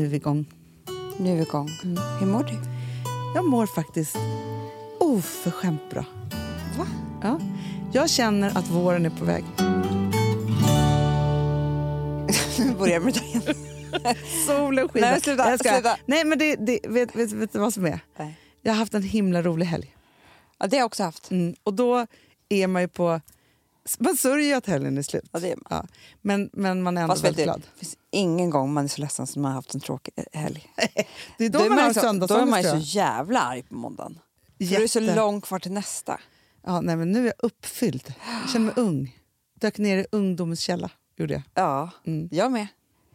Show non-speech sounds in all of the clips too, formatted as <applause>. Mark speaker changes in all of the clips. Speaker 1: är vi igång.
Speaker 2: Nu är vi igång. Hur mår du?
Speaker 1: Jag mår faktiskt oförskämt bra.
Speaker 2: Va?
Speaker 1: Ja. Jag känner att våren är på väg.
Speaker 2: Nu <laughs> börjar med det igen.
Speaker 1: Solen skiner.
Speaker 2: Nej, sluta,
Speaker 1: Jag skojar.
Speaker 2: sluta.
Speaker 1: Nej, men det, det, vet, vet, vet du vad som är?
Speaker 2: Nej.
Speaker 1: Jag har haft en himla rolig helg.
Speaker 2: Ja, det har jag också haft.
Speaker 1: Mm. Och då är man ju på... Man sörjer ju att helgen är slut.
Speaker 2: Ja, det är man.
Speaker 1: Ja. Men, men man är ändå
Speaker 2: Fast vet
Speaker 1: väldigt
Speaker 2: du,
Speaker 1: glad.
Speaker 2: det finns ingen gång man är så ledsen som man har haft en tråkig eh, helg.
Speaker 1: Det är då, man, har
Speaker 2: ju så- Då är
Speaker 1: söndagsångest.
Speaker 2: man ju
Speaker 1: tror
Speaker 2: så
Speaker 1: jag.
Speaker 2: jävla arg på måndagen. För det är så
Speaker 1: Jätte.
Speaker 2: långt kvar till nästa.
Speaker 1: Ja, nej, men nu är jag uppfylld. Jag känner mig ung. Dök ner i ungdomens källa. Gjorde jag.
Speaker 2: Ja, jag med.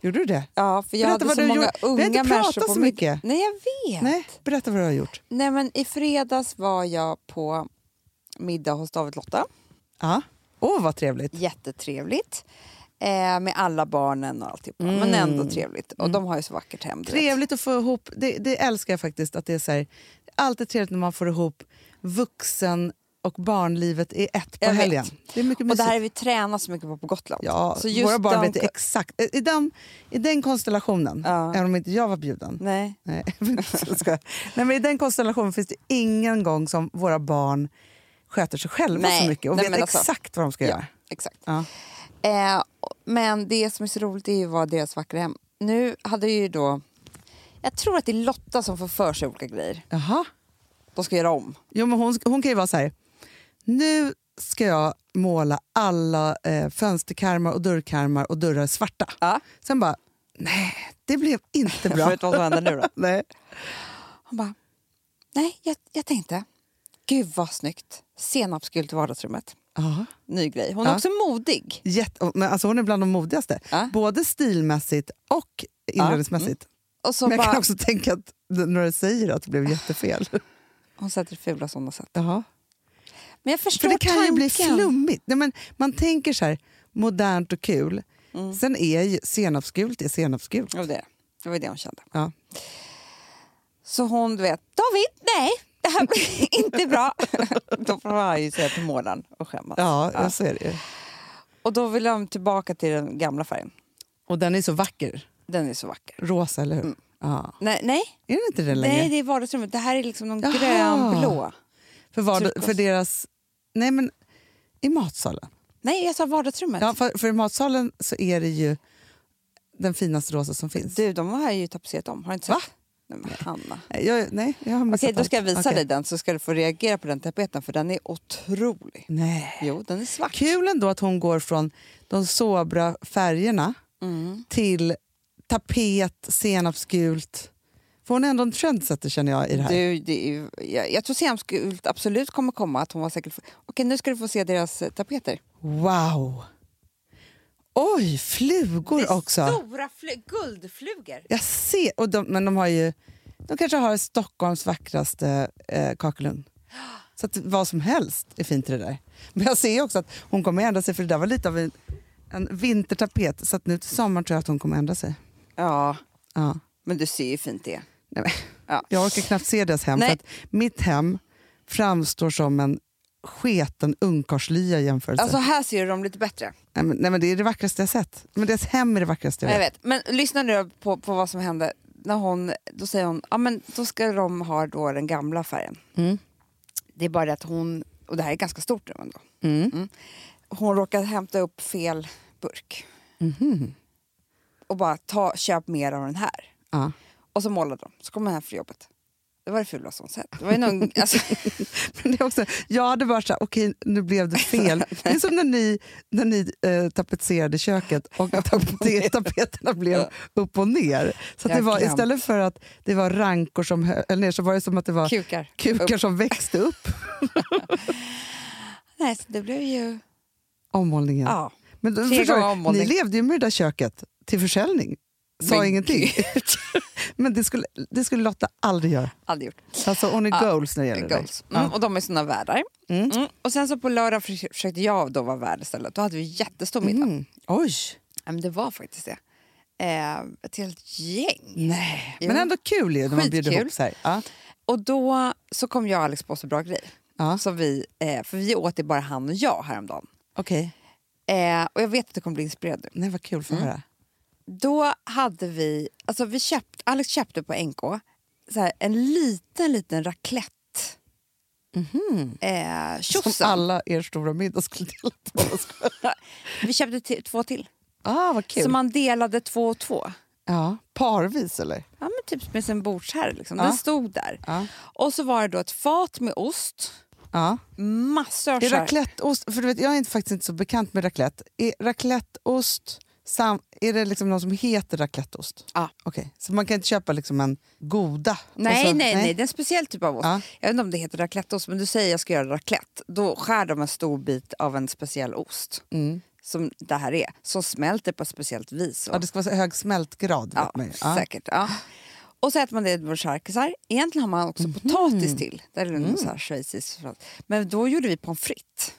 Speaker 1: Gjorde du det?
Speaker 2: Mm. Ja, för jag
Speaker 1: Berätta
Speaker 2: hade
Speaker 1: vad
Speaker 2: så
Speaker 1: du
Speaker 2: många
Speaker 1: gjorde. Vi har
Speaker 2: unga
Speaker 1: inte pratat
Speaker 2: människor på
Speaker 1: så
Speaker 2: mitt-
Speaker 1: mycket.
Speaker 2: Nej, jag vet. Nej.
Speaker 1: Nej, berätta vad du har gjort.
Speaker 2: men i fredags var jag på middag hos David Lotta.
Speaker 1: Ja. Åh, vad trevligt.
Speaker 2: Jättetrevligt. Eh, med alla barnen och alltihopa. Men ändå trevligt. Och de har ju så vackert hem. du vet.
Speaker 1: Trevligt att få ihop, det, det älskar jag faktiskt. Att det är så här, alltid trevligt när man får ihop vuxen och barnlivet i ett på
Speaker 2: Jag vet.
Speaker 1: helgen. Det är mycket
Speaker 2: Och det
Speaker 1: mysigt.
Speaker 2: här är vi tränat så mycket på på Gotland.
Speaker 1: Ja,
Speaker 2: så just
Speaker 1: våra barn
Speaker 2: de-
Speaker 1: vet exakt. I den, I den konstellationen,
Speaker 2: Ja. Mm.
Speaker 1: även om inte jag var bjuden,
Speaker 2: Nej.
Speaker 1: Nej, <laughs> men jag skojar. Nej, men I den konstellationen finns det ingen gång som våra barn sköter sig själva så
Speaker 2: Nej,
Speaker 1: mycket och
Speaker 2: nej,
Speaker 1: vet
Speaker 2: men alltså-
Speaker 1: exakt vad de ska göra.
Speaker 2: Exakt.
Speaker 1: Ja.
Speaker 2: Eh, men det som är så roligt är ju vad deras vackra hem... Nu hade ju då... Jag tror att det är Lotta som får för sig olika grejer.
Speaker 1: Jaha.
Speaker 2: De ska göra om.
Speaker 1: Jo, men hon, hon kan ju vara så här. Nu ska jag måla alla eh, fönsterkarmar och dörrkarmar och dörrar svarta.
Speaker 2: Ja.
Speaker 1: Sen bara, nej, det blev inte
Speaker 2: För <laughs>
Speaker 1: bra.
Speaker 2: vet du vad som händer
Speaker 1: <laughs>
Speaker 2: nu då?
Speaker 1: nej.
Speaker 2: Hon bara... Nej, jag, jag tänkte. Gud vad snyggt. Senapsgult i vardagsrummet.
Speaker 1: Ja.
Speaker 2: Ny grej. Hon är
Speaker 1: Ja.
Speaker 2: också modig.
Speaker 1: Jätte, men alltså hon är bland de modigaste,
Speaker 2: Ja.
Speaker 1: både stilmässigt och inredningsmässigt.
Speaker 2: Och så
Speaker 1: Men jag
Speaker 2: bara,
Speaker 1: kan också tänka att när du säger att det blev
Speaker 2: <laughs>
Speaker 1: jättefel.
Speaker 2: Hon sätter det fulaste hon har sett.
Speaker 1: Jaha.
Speaker 2: Men jag förstår
Speaker 1: För det kan ju
Speaker 2: tanken.
Speaker 1: bli flummigt. Nej, men man tänker så här, modernt och kul.
Speaker 2: Mm.
Speaker 1: Sen är ju senapsgult är senapsgult.
Speaker 2: Ja, det, det var det hon kände.
Speaker 1: Ja.
Speaker 2: Så hon, du vet, David, nej, det här blir <laughs>
Speaker 1: <laughs>
Speaker 2: inte bra. då får han ju säga till målaren och skämmas.
Speaker 1: Ja, jag ser det ju.
Speaker 2: Och då vill de tillbaka till den gamla färgen.
Speaker 1: Och den är så vacker.
Speaker 2: Den är så vacker.
Speaker 1: Rosa, eller hur? Ja.
Speaker 2: Nej, nej,
Speaker 1: Är den inte det längre?
Speaker 2: Mm. nej det är vardagsrummet. Det här är liksom någon
Speaker 1: Jaha.
Speaker 2: grönblå.
Speaker 1: för, vad,
Speaker 2: turkos.
Speaker 1: för deras... Nej, men i matsalen.
Speaker 2: Nej, jag sa vardagsrummet.
Speaker 1: Ja, för, för i matsalen så är det ju den finaste rosa som finns.
Speaker 2: Du, de har ju tapetserat om. Har du inte sett?
Speaker 1: Va?
Speaker 2: Nej, men Hanna.
Speaker 1: Nej, Jag, nej, jag har missat
Speaker 2: Okej, då ska jag visa
Speaker 1: allt. Okej.
Speaker 2: dig den så ska du få reagera på den tapeten för den är otrolig.
Speaker 1: Nej.
Speaker 2: Jo, den är svart.
Speaker 1: Kul ändå att hon går från de sobra färgerna
Speaker 2: Mm.
Speaker 1: till tapet, senapsgult. För hon är ändå en trendsetter känner jag i det här.
Speaker 2: Du, det är, ju- jag, jag tror Senapsgult absolut kommer komma. Att hon var säkert, okej, nu ska du få se deras eh, tapeter.
Speaker 1: Wow! Oj, flugor också.
Speaker 2: Stora guldflugor.
Speaker 1: Jag ser. Och de, men de har ju... De kanske har Stockholms vackraste eh, kakelugn. Så att vad som helst är fint i det där. Men jag ser ju också att hon kommer ändra sig för det där var lite av en, en vintertapet. Så att nu till sommaren tror jag att hon kommer ändra sig.
Speaker 2: Ja,
Speaker 1: Ja.
Speaker 2: men du ser ju fint det.
Speaker 1: Nej, men.
Speaker 2: Ja.
Speaker 1: Jag orkar knappt se deras hem.
Speaker 2: Nej.
Speaker 1: För att mitt hem framstår som en sketen ungkarlslya i jämförelse.
Speaker 2: Alltså här ser du dem lite bättre.
Speaker 1: nej, men, nej, men det är det vackraste jag sett. Men deras hem är det vackraste jag
Speaker 2: Jag
Speaker 1: vet.
Speaker 2: vet. Men lyssna nu på, på vad som hände. När hon, då säger hon, ja men då ska de ha då den gamla färgen.
Speaker 1: Mm.
Speaker 2: Det är bara det att hon, och det här är ett ganska stort rum ändå.
Speaker 1: Mm.
Speaker 2: Hon råkade hämta upp fel burk.
Speaker 1: Mhm.
Speaker 2: Och bara, ta, köp mer av den här.
Speaker 1: Ja.
Speaker 2: Och så målade de. Så kom han hem från jobbet. Det var det fulaste hon sett. Det var ju någon, alltså,
Speaker 1: <laughs> Men det är också, jag hade varit såhär, okej nu blev det
Speaker 2: <laughs>
Speaker 1: fel. Det är som när ni, när ni eh, tapetserade köket
Speaker 2: <laughs>
Speaker 1: och tapet, tapeterna blev upp och ner. Så att
Speaker 2: Jag
Speaker 1: det var,
Speaker 2: glömt.
Speaker 1: istället för att det var rankor som hö- eller ner så var det som att det var
Speaker 2: kukar.
Speaker 1: kukar
Speaker 2: Upp.
Speaker 1: som växte upp.
Speaker 2: Nej, så det blev ju...
Speaker 1: Ommålningen.
Speaker 2: Ja.
Speaker 1: Men då,
Speaker 2: Tre
Speaker 1: förstår
Speaker 2: gånger
Speaker 1: du,
Speaker 2: omvåldning.
Speaker 1: ni levde ju med det där köket till försäljning. Sa
Speaker 2: Men
Speaker 1: ingenting. <laughs> Men det skulle, det skulle Lotta aldrig göra.
Speaker 2: Aldrig gjort.
Speaker 1: Alltså hon är
Speaker 2: Ja,
Speaker 1: goals när det gäller det.
Speaker 2: Goals. Mm, och de är såna värdar.
Speaker 1: Mm.
Speaker 2: Mm. Och sen så på lördag förs- försökte jag då vara värd istället. Då hade vi jättestor middag.
Speaker 1: Mm. Oj!
Speaker 2: Ja, men det var faktiskt det. Eh, ett helt gäng.
Speaker 1: Nej.
Speaker 2: Jo.
Speaker 1: Men ändå kul ju när man bjuder
Speaker 2: Skitkul.
Speaker 1: ihop så här. Ja.
Speaker 2: Och då så kom jag och Alex på så bra grej.
Speaker 1: Ja.
Speaker 2: Så vi, eh, för vi åt det bara han och jag häromdagen.
Speaker 1: Okej.
Speaker 2: Eh, och jag vet att du kommer bli inspirerad nu.
Speaker 1: Nej, vad kul för att höra.
Speaker 2: Då hade vi, alltså vi köpt, Alex köpte på NK så här, en liten, liten raclette. Eh,
Speaker 1: Mhm. Som
Speaker 2: tjosan.
Speaker 1: alla er stora middag skulle
Speaker 2: <laughs>
Speaker 1: dela på.
Speaker 2: Vi köpte till, två till.
Speaker 1: Ah, vad kul.
Speaker 2: Så man delade två och två.
Speaker 1: Ja, parvis eller?
Speaker 2: Ja, men typ med en bordsherre. Liksom.
Speaker 1: Ja.
Speaker 2: Den stod där.
Speaker 1: Ja.
Speaker 2: Och så var det då ett fat med ost.
Speaker 1: Ja.
Speaker 2: Massor av
Speaker 1: Är
Speaker 2: skär-
Speaker 1: racletteost, för du vet, jag är inte, faktiskt inte så bekant med raclette. Är racletteost, sam, är det liksom någon som heter racletteost?
Speaker 2: Ja.
Speaker 1: Okej, så man kan inte köpa liksom en goda? och
Speaker 2: Nej,
Speaker 1: så,
Speaker 2: nej, nej. Det är en speciell typ av ost.
Speaker 1: alltså. Ja.
Speaker 2: Jag vet inte om det heter racletteost, men du säger jag ska göra raclette. Då skär de en stor bit av en speciell ost,
Speaker 1: Mm.
Speaker 2: som det här är, som smälter på ett speciellt vis.
Speaker 1: Ja, det ska vara så hög smältgrad.
Speaker 2: Ja,
Speaker 1: vet man ju. ja.
Speaker 2: säkert. Ja. Och så äter man det med charkisar. Egentligen har man
Speaker 1: Mhm.
Speaker 2: också potatis till. Där är det mm. så här schweizisk förrätt. Men då gjorde vi pommes frites.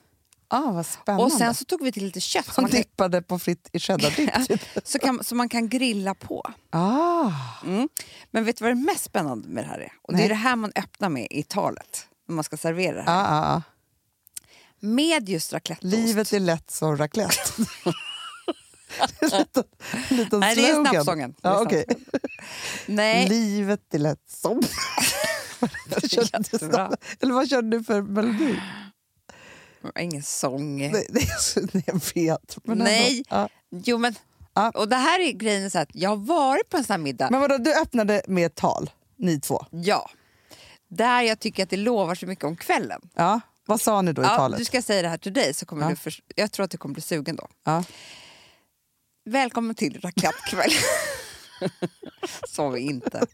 Speaker 1: Ah, vad spännande.
Speaker 2: Och sen så tog vi till lite kött. Så
Speaker 1: man
Speaker 2: man, kan,
Speaker 1: dippade på fritt i
Speaker 2: <laughs>
Speaker 1: cheddardipp. typ.
Speaker 2: så, kan, så man kan grilla på.
Speaker 1: ah.
Speaker 2: Mm. Men vet du vad det mest spännande med det här är? Och det
Speaker 1: Nej.
Speaker 2: är det här man öppnar med i talet. När man ska servera det här.
Speaker 1: Ah, ah, ah.
Speaker 2: Med just racletteost.
Speaker 1: Livet är lätt som raclette.
Speaker 2: <laughs>
Speaker 1: liten, liten
Speaker 2: Nej, det är
Speaker 1: slogan.
Speaker 2: snabbsången. Det är
Speaker 1: Ja, okej.
Speaker 2: Nej,
Speaker 1: Livet är lätt
Speaker 2: <laughs>
Speaker 1: som... Vad körde du
Speaker 2: Jättebra.
Speaker 1: snabbt? Eller vad körde du för melodi?
Speaker 2: ingen sång.
Speaker 1: Nej, det är så, nej, jag vet. Men ändå.
Speaker 2: Nej.
Speaker 1: Ja.
Speaker 2: Jo, men...
Speaker 1: Ja.
Speaker 2: Och det här är grejen så här att jag har varit på en sån här middag.
Speaker 1: Men vadå, du öppnade med ett tal, ni två.
Speaker 2: Ja. Där jag tycker att det lovar så mycket om kvällen.
Speaker 1: Ja. Vad sa ni då i
Speaker 2: Ja,
Speaker 1: talet?
Speaker 2: du ska säga det här till dig, så kommer
Speaker 1: Ja.
Speaker 2: du för... jag tror att du kommer bli sugen då.
Speaker 1: Ja. <laughs>
Speaker 2: Välkommen till raclettekväll. <laughs> Sov inte.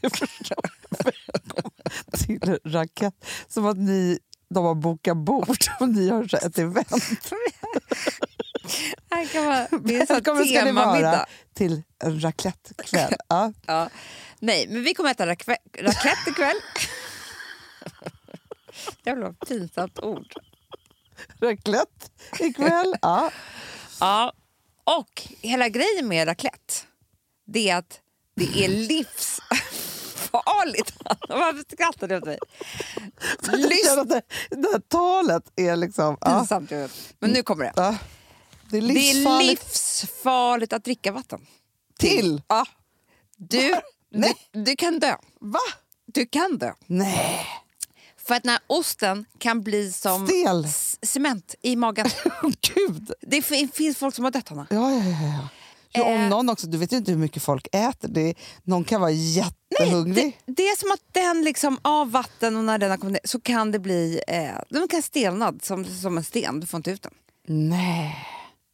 Speaker 1: Du förstår. Till racket. Som att ni, de har bokat bord <laughs> och ni har så här ett event.
Speaker 2: Här kan <laughs> man... Det är så här
Speaker 1: Välkommen ska ni vara
Speaker 2: temamiddag.
Speaker 1: till en <laughs> raclettekväll. Ja.
Speaker 2: Ja. Nej, men vi kommer äta rakve- raclette ikväll. Jävla pinsamt ord.
Speaker 1: Raclette ikväll. Ja.
Speaker 2: Ja. Och hela grejen med raclette, det är att det är livsfarligt. <laughs> Varför skrattar du åt mig?
Speaker 1: Jag känner att det, det här talet är liksom... Ja.
Speaker 2: Pinsamt, jag vet. Men nu kommer det.
Speaker 1: Ja. Det är
Speaker 2: Det är
Speaker 1: livsfarligt
Speaker 2: livsfarligt att dricka vatten.
Speaker 1: till.
Speaker 2: Ja. Du, du, du kan dö.
Speaker 1: Va?
Speaker 2: Du kan dö.
Speaker 1: Nej.
Speaker 2: För att den här osten kan bli som
Speaker 1: Stel. <laughs>
Speaker 2: c- cement i magen.
Speaker 1: Åh, Gud.
Speaker 2: Det fin- finns folk som har dött, Hanna.
Speaker 1: Ja, ja, ja. ja. Jo,
Speaker 2: Eh.
Speaker 1: om någon också, du vet ju inte hur mycket folk äter. Det är, någon kan vara jättehungrig.
Speaker 2: Det, det är som att den liksom av vatten och när den har kommit ner så kan det bli eh, den kan stelna som, som en sten. Du får inte ut den.
Speaker 1: Nej.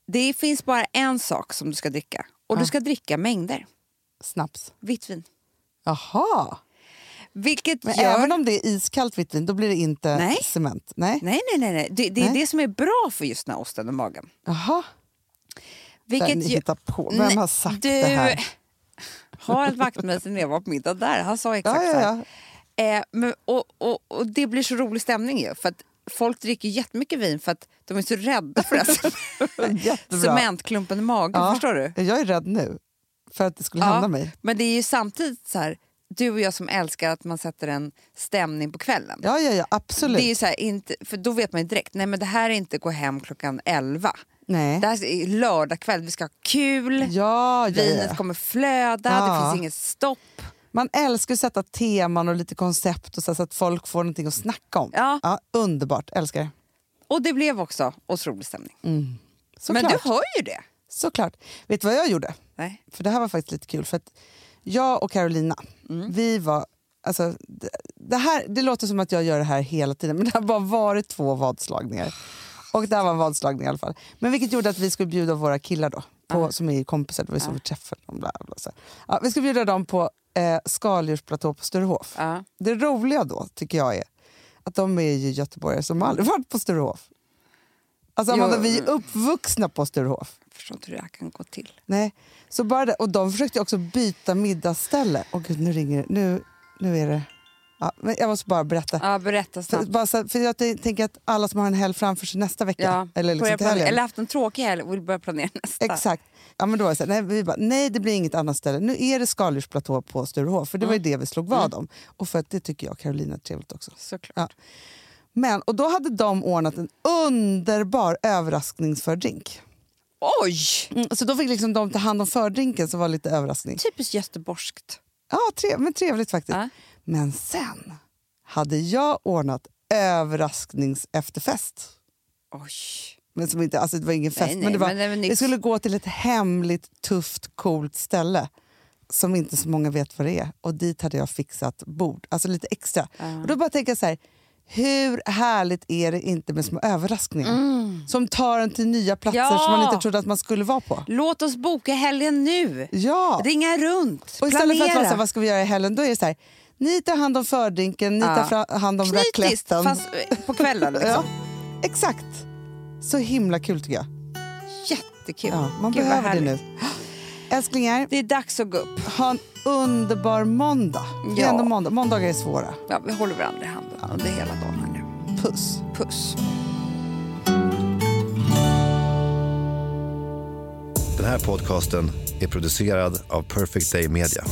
Speaker 2: Det finns bara en sak som du ska dricka och du ska dricka mängder
Speaker 1: Snaps.
Speaker 2: vitt vin.
Speaker 1: Jaha.
Speaker 2: Vilket
Speaker 1: Men
Speaker 2: gör...
Speaker 1: även om det är iskallt vitt vin, då blir det inte
Speaker 2: Nej.
Speaker 1: cement? Nej.
Speaker 2: Nej, nej, nej. nej. Det, det är
Speaker 1: Nej.
Speaker 2: det som är bra för just den här osten och magen.
Speaker 1: Jaha. Vilket ni
Speaker 2: ju-
Speaker 1: hittar på. Vem
Speaker 2: Nej,
Speaker 1: har sagt
Speaker 2: du...
Speaker 1: det här?
Speaker 2: <laughs> Har ett vaktmästare när jag var på middag där, han sa exakt
Speaker 1: Ja,
Speaker 2: så
Speaker 1: ja,
Speaker 2: här.
Speaker 1: ja.
Speaker 2: Eh, men, och, och, och det blir så rolig stämning ju. För att folk dricker jättemycket vin för att de är så rädda för
Speaker 1: <laughs>
Speaker 2: den
Speaker 1: Jättebra.
Speaker 2: cementklumpen i magen.
Speaker 1: Ja.
Speaker 2: Förstår du?
Speaker 1: Jag är rädd nu för att det skulle hända mig.
Speaker 2: Men det är ju samtidigt så här, du och jag som älskar att man sätter en stämning på kvällen.
Speaker 1: Ja, ja, ja
Speaker 2: Det
Speaker 1: absolut.
Speaker 2: är ju så här, inte, för då vet man ju direkt, nej men det här är inte gå hem klockan 11.
Speaker 1: Nej.
Speaker 2: Det här är lördag kväll, vi ska ha kul,
Speaker 1: Ja, ja,
Speaker 2: vinet
Speaker 1: ja.
Speaker 2: kommer flöda, det
Speaker 1: Ja.
Speaker 2: finns inget stopp.
Speaker 1: Man älskar ju att sätta teman och lite koncept och så, så att folk får någonting att snacka om.
Speaker 2: Ja.
Speaker 1: underbart, älskar det. Mm.
Speaker 2: Och det blev också otrolig stämning. men
Speaker 1: Såklart.
Speaker 2: du hör ju det.
Speaker 1: Såklart. Vet du vad jag gjorde?
Speaker 2: Nej.
Speaker 1: För det här var faktiskt lite kul. För att jag och Carolina,
Speaker 2: Mm.
Speaker 1: vi var... Alltså, det, det, här, det låter som att jag gör det här hela tiden, <laughs> men det har bara varit två vadslagningar. Och det här var en vadslagning i alla fall. Men vilket gjorde att vi skulle bjuda våra killar då, på, som är kompisar, det var ju så vi träffade dem. Bla, bla, så. Ja, vi skulle bjuda dem på eh, skaldjursplatå på Sturehof.
Speaker 2: Ja.
Speaker 1: Det roliga då, tycker jag, är att de är ju göteborgare som aldrig varit på Sturehof. Alltså,
Speaker 2: Jo.
Speaker 1: Amanda, vi är uppvuxna på Sturehof.
Speaker 2: Jag förstår inte hur det här kan gå till.
Speaker 1: Nej, så bara det. Och de försökte också byta middagsställe. Åh gud, nu ringer det. Nu, nu är det... Ja, men jag måste bara berätta.
Speaker 2: Ja, berätta
Speaker 1: För,
Speaker 2: snabbt.
Speaker 1: bara så, för jag t- tänker att alla som har en helg framför sig nästa vecka,
Speaker 2: Ja.
Speaker 1: eller
Speaker 2: Börja
Speaker 1: liksom till
Speaker 2: planera-
Speaker 1: helgen.
Speaker 2: eller haft en tråkig helg och vill börja planera nästa.
Speaker 1: Exakt. Ja, men då var det så här, nej, vi bara, nej, det blir inget annat ställe. Nu är det skaldjursplatå på Sturehof, för det var ju det vi slog vad om. Och för att det tycker jag och Carolina är trevligt också.
Speaker 2: Såklart.
Speaker 1: Ja. Men, och då hade de ordnat en underbar överraskningsfördrink.
Speaker 2: Oj!
Speaker 1: Mm, så då fick liksom de ta hand om fördrinken som var lite överraskning.
Speaker 2: Typiskt göteborgskt.
Speaker 1: Ja, trev, men trevligt faktiskt.
Speaker 2: Ja.
Speaker 1: Men sen hade jag ordnat överraskningsefterfest.
Speaker 2: Oj.
Speaker 1: Men som inte, alltså det var ingen fest,
Speaker 2: nej,
Speaker 1: men det var,
Speaker 2: men det var nytt.
Speaker 1: vi skulle gå till ett hemligt, tufft, coolt ställe som inte så många vet vad det är. Och dit hade jag fixat bord, alltså lite extra. Och då bara tänker jag så här, hur härligt är det inte med små överraskningar? Som tar en till nya platser
Speaker 2: Mm. Ja.
Speaker 1: som man inte trodde att man skulle vara på.
Speaker 2: Låt oss boka helgen nu.
Speaker 1: Ja!
Speaker 2: Ringa runt.
Speaker 1: Och istället för att vara så här,
Speaker 2: planera.
Speaker 1: vad ska vi göra i helgen? Då är det så här, ni tar hand om fördrinken, ni
Speaker 2: Ja.
Speaker 1: tar fra- hand om
Speaker 2: Knytis,
Speaker 1: racletten.
Speaker 2: fast eh, på kvällen. Liksom.
Speaker 1: Ja, exakt. Så himla kul tycker jag.
Speaker 2: Jättekul.
Speaker 1: <laughs> Ja, man
Speaker 2: Gud, vad
Speaker 1: behöver det
Speaker 2: härligt.
Speaker 1: nu. Älsklingar,
Speaker 2: Det är dags att gå upp.
Speaker 1: ha en underbar måndag. Det är
Speaker 2: Ja.
Speaker 1: ändå måndag. Måndagar är svåra.
Speaker 2: Ja, vi håller varandra i handen under hela dagen här nu.
Speaker 1: Puss.
Speaker 2: Puss.
Speaker 3: Den här podcasten är producerad av Perfect Day Media.